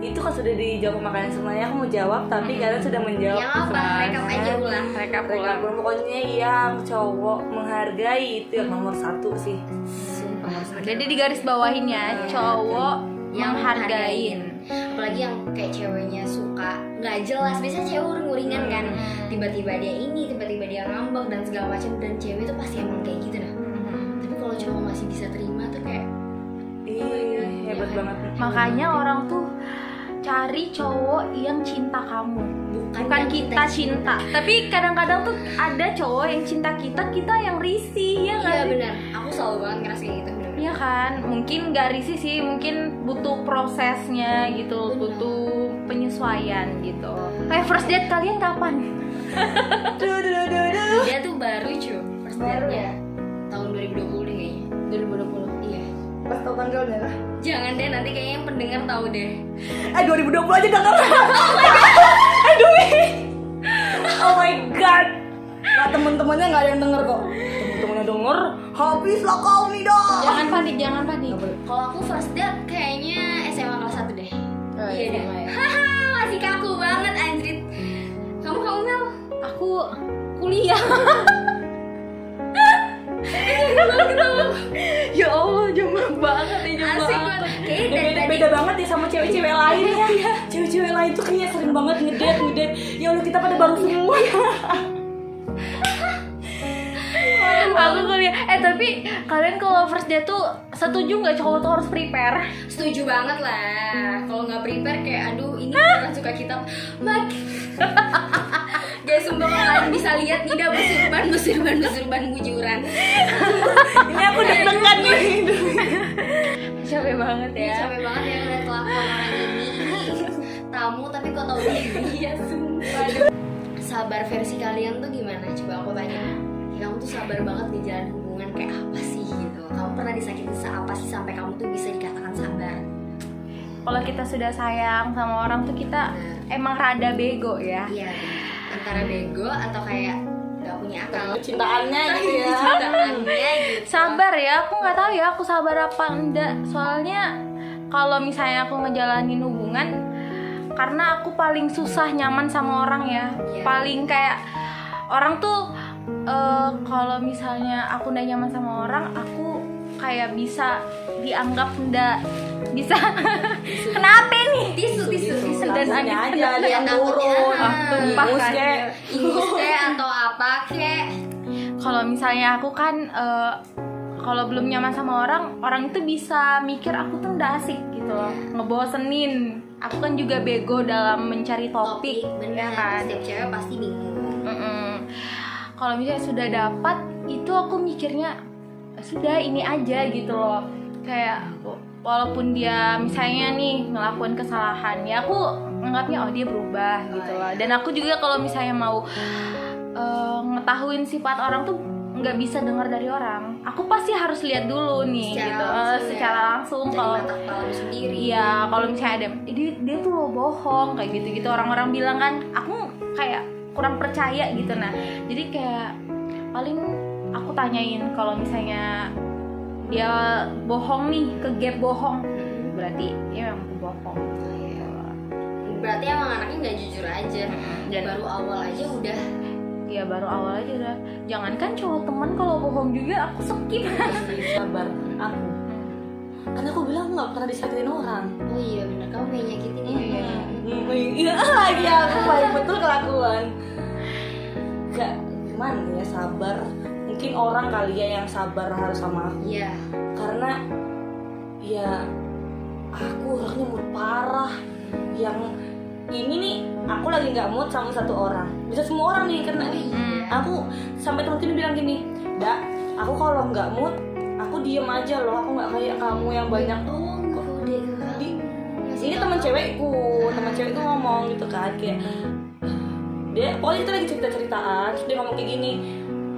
Speaker 3: itu kan sudah dijawab sama kalian semuanya aku mau jawab tapi
Speaker 2: Hmm.
Speaker 3: kalian sudah menjawab
Speaker 2: Yang Ya, apa? Rekap aja ulang.
Speaker 1: Rekap
Speaker 3: Rekap
Speaker 1: ulang.
Speaker 3: ulang. pokoknya yang cowok menghargai itu yang nomor satu sih
Speaker 2: Sumpah.
Speaker 1: Jadi di garis bawahinnya cowok yang hargain.
Speaker 2: apalagi yang kayak ceweknya suka nggak jelas biasanya cewek uring-uringan kan tiba-tiba dia ini tiba-tiba dia ngambek dan segala macam dan cewek tuh pasti emang kayak gitu nah tapi kalau cowok masih bisa terima tuh kayak
Speaker 3: Ih, hebat
Speaker 2: Iya.
Speaker 3: banget
Speaker 1: Makanya orang tuh cari cowok yang cinta kamu.
Speaker 2: bukan,
Speaker 1: Bukan
Speaker 2: yang
Speaker 1: kita cinta, tapi kadang-kadang tuh ada cowok yang cinta kita, kita yang risih ya
Speaker 2: iya
Speaker 1: kan?
Speaker 2: benar aku selalu banget ngerasa kayak gitu benar
Speaker 1: Iya kan, mungkin nggak risih sih, mungkin butuh prosesnya gitu,
Speaker 2: Benar.
Speaker 1: butuh penyesuaian gitu. Kayak first date kalian kapan?
Speaker 3: Duh, duh, duh, duh, duh.
Speaker 2: dia tuh baru cu first
Speaker 3: Baru
Speaker 2: date-nya tahun 2020 deh kayaknya
Speaker 1: 2020.
Speaker 2: iya
Speaker 3: Pas tau tanggalnya lah
Speaker 2: jangan deh nanti kayaknya yang pendengar tahu deh
Speaker 3: Eh 2020 aja denger
Speaker 2: Oh
Speaker 3: Aduh ih. Oh my god Nah temen-temennya gak ada yang denger kok Temen-temennya denger Habislah kau nih dong
Speaker 1: Jangan panik, jangan panik.
Speaker 2: kalau aku first date kayaknya SMA kelas 1 deh
Speaker 1: Eh,
Speaker 2: iya deh
Speaker 1: SMA ya.
Speaker 2: haha masih kaku banget anjrit kamu kamu Mel
Speaker 1: Aku kuliah. ya Allah, jomblo banget nih jomblo.
Speaker 2: asik
Speaker 1: aku.
Speaker 2: banget kayaknya dari
Speaker 3: beda,
Speaker 2: tadi
Speaker 3: beda banget ya sama cewek-cewek lain ya Cewek-cewek lain tuh kayaknya sering banget ngedate ngedate Ya Allah kita pada baru semua ya.
Speaker 1: Aku kuliah. Eh tapi kalian kalau first date tuh setuju nggak cowok tuh harus prepare?
Speaker 2: setuju banget lah kalau nggak prepare kayak aduh ini
Speaker 1: Ah!
Speaker 2: bukan suka kita mak Guys, sumpah kalau kalian bisa lihat Nida bersurban, bersurban, bersurban bujuran
Speaker 3: Ini aku deg-degan nih
Speaker 1: Capek banget ya.
Speaker 2: Capek banget ya ngeliat kelakuan orang ini Tamu tapi kok tau diri
Speaker 1: Iya,
Speaker 2: Ya sumpah aduh. Sabar versi kalian tuh gimana? Coba aku tanya Ya, Kamu tuh sabar banget di jalan hubungan kayak apa sih gitu Kamu pernah disakiti apa sih sampai kamu tuh bisa dikatakan sabar?
Speaker 1: kalau kita sudah sayang sama orang tuh kita emang rada bego ya
Speaker 2: Iya, antara bego atau kayak nggak punya akal
Speaker 3: Cintaannya gitu ya
Speaker 1: Iya.
Speaker 2: Cintaannya gitu
Speaker 1: sabar ya aku nggak tahu ya aku sabar apa enggak soalnya kalau misalnya aku ngejalanin hubungan karena aku paling susah nyaman sama orang ya
Speaker 2: Iya.
Speaker 1: paling kayak orang tuh eh, kalau misalnya aku udah nyaman sama orang aku kayak bisa dianggap enggak bisa kenapa nih
Speaker 2: Tisu, tisu, tisu
Speaker 1: Dan
Speaker 3: Langsungnya
Speaker 1: angin
Speaker 3: aja
Speaker 1: kena-
Speaker 3: dia yang Iya. turun
Speaker 2: Ah,
Speaker 1: tumpah
Speaker 3: Ingus
Speaker 1: kan.
Speaker 3: kek.
Speaker 2: Iya, Ingus kek atau apa kek
Speaker 1: kalau misalnya aku kan eh, kalau belum nyaman sama orang orang itu bisa mikir aku tuh nggak asik gitu loh ngebosenin aku kan juga bego dalam mencari topik, ya
Speaker 2: bener
Speaker 1: kan
Speaker 2: Setiap cewek pasti bingung
Speaker 1: Mm-mm. kalau misalnya sudah dapat itu aku mikirnya sudah ini aja gitu loh kayak walaupun dia misalnya nih ngelakuin kesalahan ya aku anggapnya oh dia berubah gitu loh dan aku juga kalau misalnya mau eh, ngetahuin sifat orang tuh nggak bisa dengar dari orang aku pasti harus lihat dulu nih
Speaker 2: Secara
Speaker 1: gitu Eh,
Speaker 2: langsung ya.
Speaker 1: secara langsung
Speaker 2: Dari
Speaker 1: kalau
Speaker 2: mata kepala lu sendiri
Speaker 1: Iya, kalau misalnya ada "Ih, dia, dia tuh lo bohong kayak gitu-gitu orang-orang bilang kan, aku kayak kurang percaya gitu nah. Jadi kayak paling aku tanyain kalau misalnya dia bohong nih, ke gap bohong. Berarti ya memang bohong.
Speaker 2: Iya. Berarti emang anaknya nggak jujur aja
Speaker 1: Dan
Speaker 2: Baru awal aja udah
Speaker 1: ya baru awal aja udah jangankan cowok teman kalau bohong juga aku skip.
Speaker 3: Sabar aku Kan aku bilang gak pernah disakitin orang
Speaker 2: Oh iya bener, kamu gak nyakitin ya
Speaker 3: Hmm, Iya lagi aku paling betul kelakuan. Gak gimana ya sabar. Mungkin orang kali ya yang sabar harus sama aku
Speaker 2: Iya
Speaker 3: karena ya aku orangnya mood parah yang ini nih aku lagi nggak mood sama satu orang bisa semua orang nih karena aku sampai temen temen bilang gini dak aku kalau nggak mood aku diem aja loh aku nggak kayak kamu yang banyak
Speaker 2: Oh enggak deh
Speaker 3: Di- ini teman cewekku teman cewekku ngomong gitu kan kayak dia pokoknya kita lagi cerita ceritaan terus dia ngomong kayak gini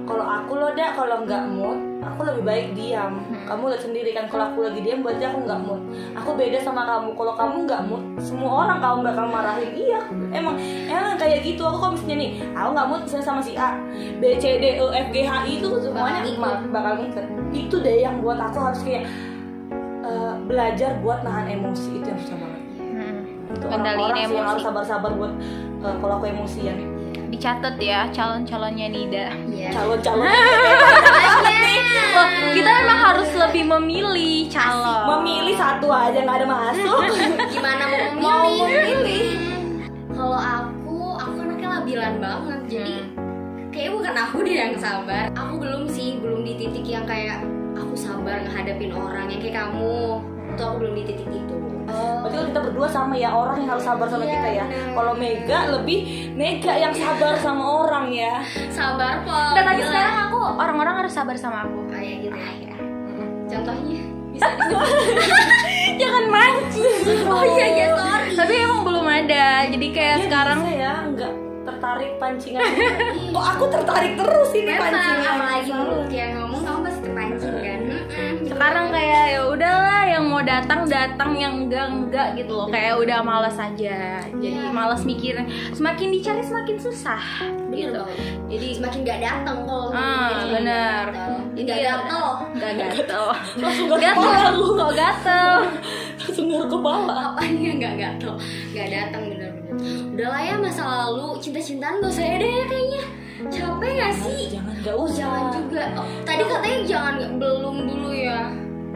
Speaker 3: kalau aku loh dak kalau nggak mood aku lebih baik diam
Speaker 1: Hmm.
Speaker 3: kamu lihat sendiri kan kalau aku lagi diam berarti aku nggak mood aku beda sama kamu kalau kamu nggak mood semua orang kamu bakal marahin iya emang emang kayak gitu aku kalau misalnya nih aku nggak mood misalnya sama si A B C D E F G H I itu semuanya
Speaker 2: Bakal
Speaker 3: ma- bakal ngikut itu deh yang buat aku harus kayak eh, belajar buat nahan emosi itu yang susah banget
Speaker 1: Mm.
Speaker 3: Itu
Speaker 1: Kendaliin
Speaker 3: orang-orang sih yang
Speaker 1: emosi.
Speaker 3: harus sabar-sabar buat eh, kalau aku emosian
Speaker 1: dicatat ya calon-calonnya Nida.
Speaker 2: Iya.
Speaker 3: calon-calon
Speaker 1: Loh, kita emang harus lebih memilih calon.
Speaker 3: memilih satu aja nggak ada masuk
Speaker 2: Gimana mau
Speaker 3: mau
Speaker 2: memilih?
Speaker 3: memilih
Speaker 2: Kalau aku, aku anaknya labilan banget. Jadi
Speaker 1: Hmm.
Speaker 2: kayaknya bukan aku deh yang sabar. Aku belum sih, belum di titik yang kayak aku sabar ngehadapin orang yang kayak kamu. Tuh aku belum di titik itu.
Speaker 3: Berarti kalau kita berdua sama ya orang yang harus sabar sama
Speaker 2: Iya,
Speaker 3: kita ya.
Speaker 2: bener.
Speaker 3: Kalau Mega lebih Mega yang sabar sama orang ya.
Speaker 2: Sabar kok.
Speaker 1: Dan lagi sekarang aku orang-orang harus sabar sama aku.
Speaker 2: kayak gitu ya.
Speaker 1: Iya.
Speaker 2: Contohnya bisa disebut.
Speaker 1: Eh, Jangan mancing.
Speaker 2: oh iya iya sorry.
Speaker 1: Tapi emang belum ada. Jadi kayak
Speaker 3: Dia
Speaker 1: sekarang
Speaker 3: bisa ya nggak tertarik pancingan. Kok aku tertarik terus ini
Speaker 2: Memang
Speaker 3: pancingan.
Speaker 2: apalagi mulut yang ngomong kamu pasti kepancing kan. Mm-mm. Gitu.
Speaker 1: sekarang kayak ya udahlah yang mau datang datang yang enggak enggak gitu loh kayak udah males aja jadi
Speaker 2: Iya.
Speaker 1: males mikirin semakin dicari semakin susah gitu
Speaker 2: Jadi semakin gak datang kalau
Speaker 1: Ah, benar.
Speaker 2: Gak
Speaker 1: Iya.
Speaker 2: gatel.
Speaker 1: Gak gatel
Speaker 3: Langsung
Speaker 1: Gatel
Speaker 3: gatel.
Speaker 1: Kok gatel
Speaker 3: Langsung ngaruh ke bawah.
Speaker 2: Apa nih yang gak gatel? Gak datang benar-benar. Udahlah ya masa lalu cinta-cintaan gak usah deh kayaknya. Capek gak sih?
Speaker 3: Jangan nggak
Speaker 2: Oh,
Speaker 3: usah.
Speaker 2: jangan juga. Oh, tadi katanya jangan belum dulu ya.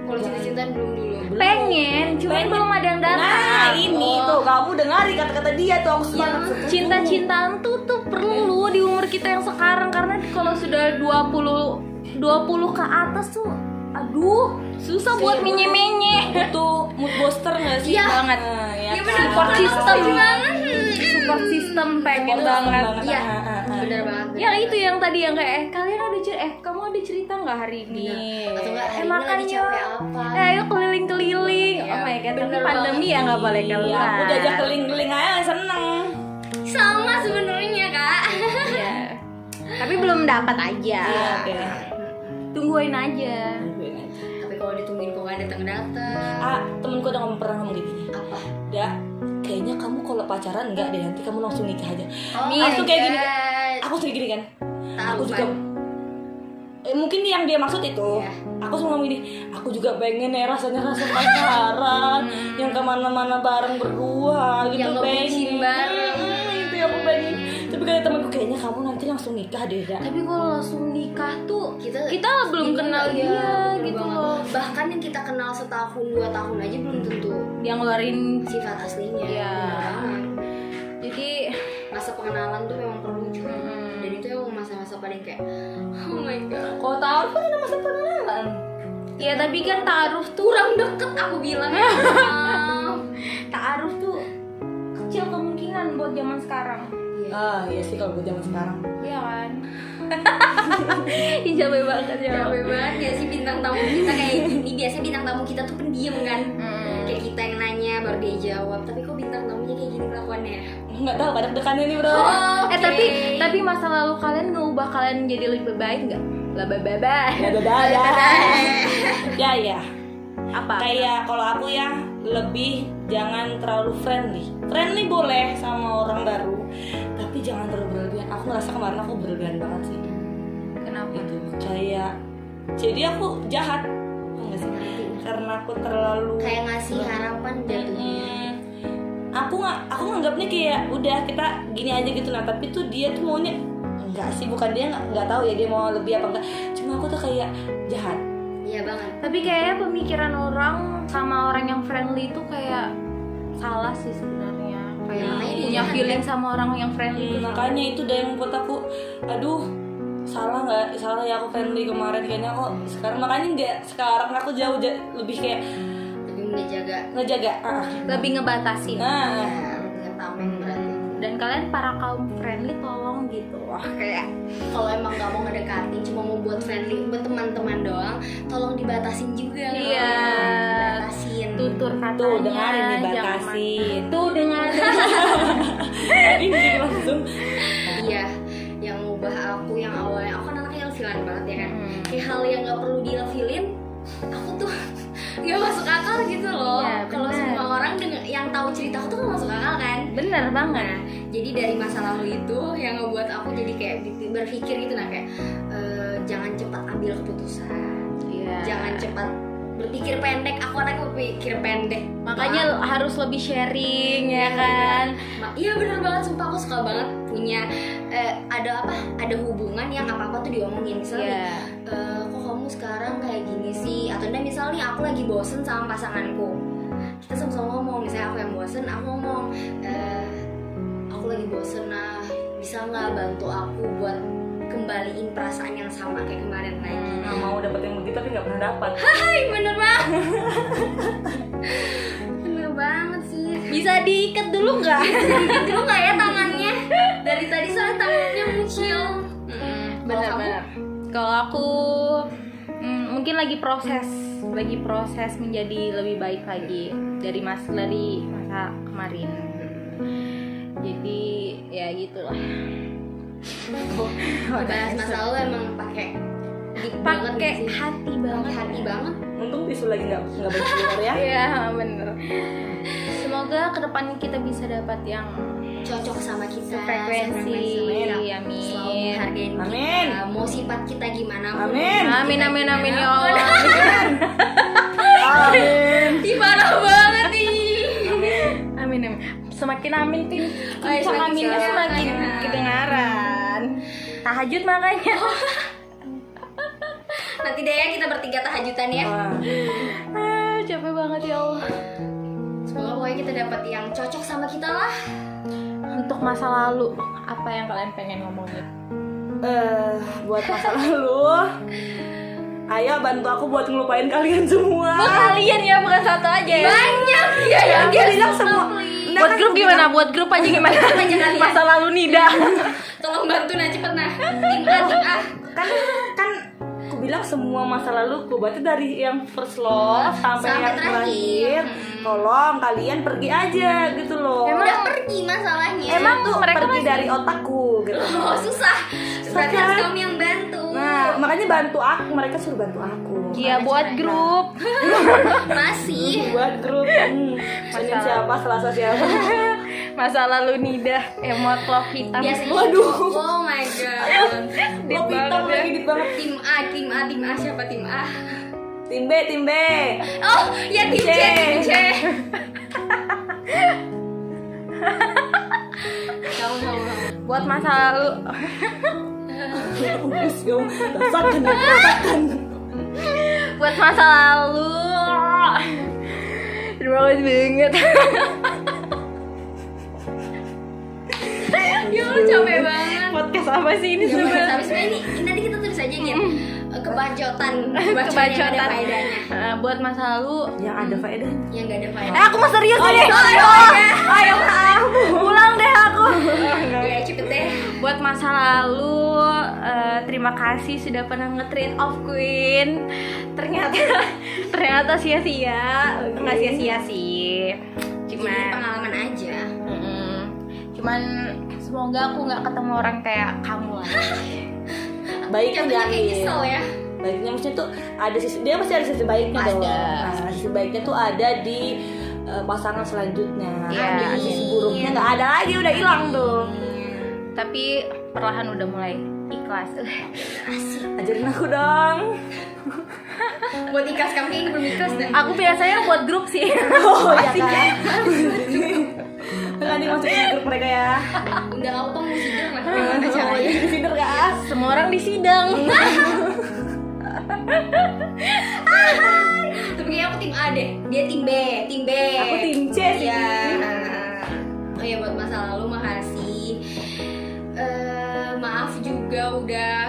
Speaker 2: Kalau cinta-cintaan belum dulu.
Speaker 1: Pengen Cuman
Speaker 3: Pengen.
Speaker 1: belum ada yang datang
Speaker 3: Nah ini tuh kamu dengari kata-kata dia tuh aku suka.
Speaker 2: Oh. Iya.
Speaker 1: Cinta-cintaan tuh tuh perlu di umur kita yang sekarang Karena kalau sudah 20 20 ke atas tuh Aduh Susah buat menye-menye
Speaker 3: Butuh mood booster nggak sih? Nah, ya.
Speaker 2: Iya.
Speaker 3: banget.
Speaker 2: Iya, benar.
Speaker 1: Support
Speaker 2: Kalau
Speaker 1: system
Speaker 2: aku banget.
Speaker 1: Support system pengen banget
Speaker 2: Iya,
Speaker 3: Iya.
Speaker 2: benar banget.
Speaker 1: yang itu yang tadi yang kayak eh kalian ada cerita eh kamu ada cerita nggak hari ini
Speaker 3: Iya.
Speaker 1: eh
Speaker 2: Atau enggak hari ini lagi
Speaker 1: makannya
Speaker 2: capek apa?
Speaker 1: eh, ayo keliling keliling oh my god tapi
Speaker 2: Iya. bener
Speaker 1: pandemi ya nggak boleh keluar
Speaker 3: Iya, aku diajak keling-keling aja seneng.
Speaker 2: Sama sebenarnya, Kak.
Speaker 1: Iya. tapi belum dapat aja
Speaker 2: Ah.
Speaker 3: Iya,
Speaker 2: Iya.
Speaker 1: tungguin aja
Speaker 2: Tapi kalau ditungguin kok gak datang-datang.
Speaker 3: Ah, temenku udah ngomong pernah ngomong gini.
Speaker 2: Apa?
Speaker 3: Da, kayaknya kamu kalau pacaran enggak deh nanti kamu langsung nikah aja.
Speaker 1: Nih,
Speaker 3: langsung kayak gini. kan?
Speaker 2: guys.
Speaker 3: Aku sendiri gini kan.
Speaker 2: Oh Tahu, kan?
Speaker 3: Aku juga
Speaker 2: Pan.
Speaker 3: Eh, mungkin yang dia maksud itu
Speaker 2: Iya.
Speaker 3: aku semua ngomong gini aku juga pengen ya rasanya rasa pacaran yang kemana-mana bareng berdua gitu
Speaker 2: Yang
Speaker 3: pengen
Speaker 2: ngebucin bareng.
Speaker 3: Mm, itu yang aku pengen tapi kata temanku kayaknya kamu nanti langsung nikah deh Da."
Speaker 1: tapi kalau langsung nikah tuh
Speaker 2: kita
Speaker 1: kita belum kenal
Speaker 2: iya,
Speaker 1: dia
Speaker 2: bener
Speaker 1: gitu
Speaker 2: banget.
Speaker 1: loh
Speaker 2: bahkan yang kita kenal setahun dua tahun aja belum tentu
Speaker 1: dia ngeluarin
Speaker 2: sifat aslinya
Speaker 1: Iya.
Speaker 2: Bener banget.
Speaker 1: jadi
Speaker 2: masa pengenalan tuh memang perlu juga
Speaker 1: Mm-mm.
Speaker 2: dan itu emang masa-masa paling kayak oh my god
Speaker 3: kalau tahu kan ada masa pengenalan
Speaker 1: ya tapi kan taruh tuh
Speaker 2: kurang deket aku bilang
Speaker 1: taaruf tuh kecil kemungkinan buat zaman sekarang
Speaker 2: Iya.
Speaker 3: ah iya sih kalau gue zaman sekarang
Speaker 1: iya kan Ijabai banget ya
Speaker 2: Capek banget ya sih bintang tamu kita kayak gini Biasanya bintang tamu kita tuh pendiam kan
Speaker 1: Mm.
Speaker 2: Kayak kita yang nanya baru dia jawab Tapi kok bintang tamunya kayak gini kelakuannya
Speaker 3: nggak tahu kadang dekannya nih bro
Speaker 2: Oh.
Speaker 1: Eh tapi tapi masa lalu kalian ngeubah kalian jadi lebih baik nggak? Laba baba.
Speaker 3: Dadah, dadah. ya ya
Speaker 1: Apa?
Speaker 3: kayak kalau aku ya lebih jangan terlalu friendly friendly boleh sama orang baru tapi jangan terlalu berlebihan aku ngerasa kemarin aku berlebihan banget sih
Speaker 1: Kenapa?
Speaker 3: gitu kayak jadi aku jahat Enggak sih karena aku terlalu
Speaker 2: Kayak ngasih harapan gitu. jatuhnya
Speaker 3: Hmm, aku nggak aku nganggapnya kayak udah kita gini aja gitu nah tapi tuh dia tuh maunya enggak sih bukan dia nggak nggak tahu ya dia mau lebih apa enggak cuma aku tuh kayak jahat
Speaker 2: Iya banget
Speaker 1: Tapi kayaknya pemikiran orang sama orang yang friendly itu kayak salah sih sebenarnya. Kayak
Speaker 2: Makanya dia
Speaker 1: punya
Speaker 2: jahat,
Speaker 1: feeling sama orang yang friendly. gitu.
Speaker 3: Hmm, makanya itu dah yang buat aku aduh salah nggak salah ya aku friendly kemarin kayaknya kok sekarang makanya nggak sekarang aku jauh ja- lebih kayak
Speaker 2: Tapi menjaga
Speaker 3: ngejaga ah.
Speaker 1: Lebih ngebatasin.
Speaker 3: nah
Speaker 2: ya, dengan tameng berarti
Speaker 1: Dan kalian para kaum friendly tolong gitu. Wah kayak
Speaker 2: Kalau emang gak mau ngedekatin Cuma mau buat friendly buat teman-teman doang Tolong dibatasin juga loh.
Speaker 1: Iya.
Speaker 2: Dibatasin
Speaker 1: tutur katanya.
Speaker 3: tuh dengarin
Speaker 1: jangan
Speaker 3: dibatasin
Speaker 1: ma- Tuh dengarin.
Speaker 3: tadi dia langsung
Speaker 2: Iya Yang ngubah aku yang awalnya Aku kan anaknya ilfilan banget ya kan
Speaker 1: Hmm.
Speaker 2: kayak hal yang nggak perlu diilfilin aku tuh nggak masuk akal gitu loh
Speaker 1: Iya,
Speaker 2: kalau
Speaker 1: benar.
Speaker 2: semua orang denger- yang tahu cerita aku tuh nggak masuk akal kan
Speaker 1: Bener banget.
Speaker 2: jadi dari masa lalu itu yang ngebuat aku jadi kayak di- berpikir gitu nah kayak eh, jangan cepat ambil keputusan
Speaker 1: Iya.
Speaker 2: jangan cepat berpikir pendek aku anaknya berpikir pendek
Speaker 1: Makanya harus lebih sharing ya kan.
Speaker 2: Ma- iya bener banget sumpah aku suka banget punya eh, ada apa ada hubungan yang apa apa tuh diomongin misalnya
Speaker 1: Iya.
Speaker 2: Eh, kok kamu sekarang kayak gini sih atau enggak misalnya nih, aku lagi bosen sama pasanganku kita sama-sama ngomong misalnya aku yang bosen aku ngomong "Eh, aku lagi bosen nah bisa nggak bantu aku buat kembaliin perasaan yang sama kayak kemarin lagi
Speaker 3: Nah, mau dapet yang begitu tapi nggak pernah dapat.
Speaker 2: Hai bener banget bener banget sih
Speaker 1: Bisa diikat dulu nggak?
Speaker 2: dulu nggak ya tangannya dari tadi soalnya tangannya muncul
Speaker 1: Benar-benar. Kalau aku mm, mungkin lagi proses, lagi proses menjadi lebih baik lagi dari mas dari masa kemarin. Jadi ya gitulah.
Speaker 2: bahas masa lalu emang pakai gitu
Speaker 1: Dipakai hati banget.
Speaker 3: ya.
Speaker 2: hati banget
Speaker 3: Untung tisu lagi nggak nggak banyak keluar ya.
Speaker 1: Iya bener. Semoga kedepannya kita bisa dapat yang
Speaker 2: cocok sama kita
Speaker 1: Sefrekuensi.
Speaker 2: sefrekuensi sama kita.
Speaker 1: Amin.
Speaker 2: selalu menghargain
Speaker 3: Amin.
Speaker 2: kita mau sifat kita gimana pun
Speaker 3: Amin.
Speaker 1: Amin amin amin ya Allah.
Speaker 3: Amin.
Speaker 1: Ih, parah banget nih. Amin amin. Semakin amin tim.
Speaker 2: Oh, iya,
Speaker 1: Kencang
Speaker 2: semakin
Speaker 1: aminnya
Speaker 2: kedengaran.
Speaker 1: semakin kedengaran. Tahajud makanya.
Speaker 2: nanti deh ya kita bertiga tahajudan ya
Speaker 3: Wah,
Speaker 1: Ah, capek banget ya Allah.
Speaker 2: semoga pokoknya kita dapat yang cocok sama kita lah
Speaker 1: Untuk masa lalu, apa yang kalian pengen ngomongin?
Speaker 3: eh, buat masa lalu, ayo bantu aku buat ngelupain kalian semua.
Speaker 1: Kalian ya bukan satu aja ya. iya,
Speaker 2: banyak ya
Speaker 3: Ya,
Speaker 2: yang
Speaker 3: aku bilang semua. Nah,
Speaker 1: Buat
Speaker 3: kan
Speaker 1: grup
Speaker 3: aku
Speaker 1: gimana? Buat grup aja gimana? masa lalu Nida.
Speaker 2: tolong bantu nah cepet nah tim A tim A
Speaker 3: bilang- Kan kan aku bilang semua masa lalu aku berarti dari yang first love
Speaker 2: Sampai
Speaker 3: sampai, yang
Speaker 2: terakhir.
Speaker 3: terakhir.
Speaker 1: Hmm.
Speaker 3: Tolong kalian pergi aja gitu loh.
Speaker 2: udah pergi masalahnya
Speaker 1: Emang
Speaker 3: tuh
Speaker 1: mereka
Speaker 3: pergi
Speaker 1: masih-
Speaker 3: dari otakku gitu.
Speaker 2: oh susah berarti
Speaker 3: Susah.
Speaker 2: harus kamu yang bantu
Speaker 3: Nah, makanya bantu aku, mereka suruh bantu aku.
Speaker 1: Iya, buat grup.
Speaker 2: masih
Speaker 3: Buat grup hmm, Senin siapa, Selasa siapa.
Speaker 1: Masa lalu Nida, emot love hitam.
Speaker 2: biasanya
Speaker 3: Waduh.
Speaker 2: oh my god
Speaker 1: Deep
Speaker 3: Lo hitam
Speaker 1: banget ya.
Speaker 3: lagi deep banget.
Speaker 2: tim A tim A tim A siapa tim A
Speaker 3: Tim B, tim B.
Speaker 2: oh ya tim C tim C kamu kamu kamu.
Speaker 1: Buat masa lalu.
Speaker 3: Bagus dong. Rasakan, rasakan.
Speaker 1: buat masa lalu terima kasih banget
Speaker 2: ya lu capek banget
Speaker 1: podcast apa sih ini
Speaker 2: Ya,
Speaker 1: sebenarnya
Speaker 2: habis ini nanti kita tulis aja gitu kebacotan kebacotan yang ada
Speaker 1: kebacotan
Speaker 2: faedahnya
Speaker 1: Eh, buat masa lalu
Speaker 3: Yang ada faedahnya.
Speaker 2: yang gak ada
Speaker 1: eh
Speaker 2: faedahnya
Speaker 1: aku mau serius
Speaker 3: Oh,
Speaker 1: deh
Speaker 3: iya,
Speaker 1: ayo ayo pulang iya, deh aku
Speaker 2: ya cepet deh
Speaker 1: buat masa lalu eh, terima kasih sudah pernah nge-treat of queen ternyata ternyata sia-sia nggak sia-sia sih
Speaker 2: Ini
Speaker 1: cuman
Speaker 2: pengalaman aja
Speaker 1: Mm-mm. Cuman semoga aku nggak ketemu orang kayak kamu lah.
Speaker 3: Baiknya
Speaker 2: Contohnya
Speaker 3: jangan
Speaker 2: kayak nyesel ya
Speaker 3: baiknya maksudnya tuh ada sisi dia pasti ada sisi baiknya
Speaker 1: Ada.
Speaker 3: dong nah, sisi baiknya tuh ada di eh, pasangan selanjutnya
Speaker 1: Iya.
Speaker 3: Ada sisi buruknya nggak ada lagi udah hilang tuh
Speaker 2: Iya.
Speaker 1: Tapi perlahan udah mulai ikhlas.
Speaker 3: ajarin aku dong
Speaker 2: buat ikhlas kamu kayaknya belum ikhlas dah
Speaker 1: aku biasanya buat grup sih.
Speaker 3: oh ya kan nanti masukin ke grup mereka ya
Speaker 2: udah kamu tuh mesti dong lah gimana caranya
Speaker 3: di
Speaker 1: kan?
Speaker 3: Tinder gak
Speaker 1: Iya, Semua orang di sidang.
Speaker 2: tapi kayaknya aku tim A deh dia tim B tim B
Speaker 3: aku tim C sih
Speaker 2: Iya. Oh ya buat masa lalu makasih. Eh, maaf juga udah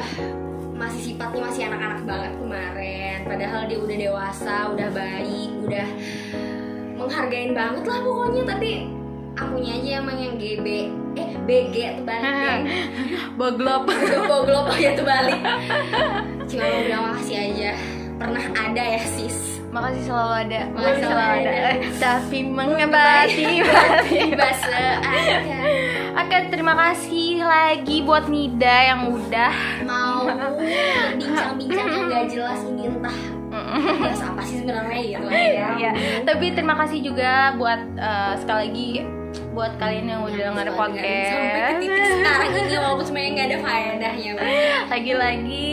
Speaker 2: masih sifatnya masih anak-anak banget kemarin. Padahal dia udah dewasa, udah baik, udah menghargain banget lah pokoknya. Tapi akunya aja emang yang GB eh BG terbalik deh.
Speaker 1: Boglop.
Speaker 2: Aduh, boglop aja terbalik. Cuma mau bilang makasih aja. Pernah ada ya sis.
Speaker 1: Makasih Iya, selalu ada.
Speaker 2: Makasih selalu ada.
Speaker 1: Eh, Tapi mengabati hati.
Speaker 2: Tiba seakan
Speaker 1: Oke, terima kasih lagi buat Nida yang udah
Speaker 2: mau bincang-bincang yang gak jelas ini entah bahas apa sih sebenarnya gitu lah ya.
Speaker 1: Iya, tapi terima kasih juga buat eh, sekali lagi buat kalian yang udah dengerin podcast.
Speaker 2: sampai ke titik sekarang ini walaupun sebenarnya nggak ada faedahnya Bang.
Speaker 1: Lagi-lagi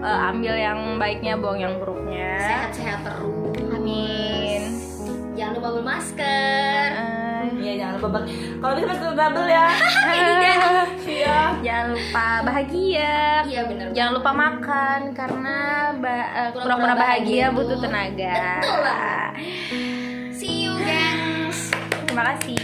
Speaker 1: eh, ambil yang baiknya, buang yang buruknya.
Speaker 2: sehat-sehat terus jangan lupa bermasker
Speaker 1: Eh,
Speaker 3: Iya jangan lupa bak- Kalau bisa masuk double ya. Iya.
Speaker 1: jangan lupa bahagia
Speaker 2: iya benar
Speaker 1: jangan lupa makan karena ba- eh,
Speaker 2: Pura-pura
Speaker 1: pura-pura bahagia
Speaker 2: bahagia
Speaker 1: butuh
Speaker 2: itu.
Speaker 1: tenaga
Speaker 2: Betul banget. see you guys
Speaker 1: terima kasih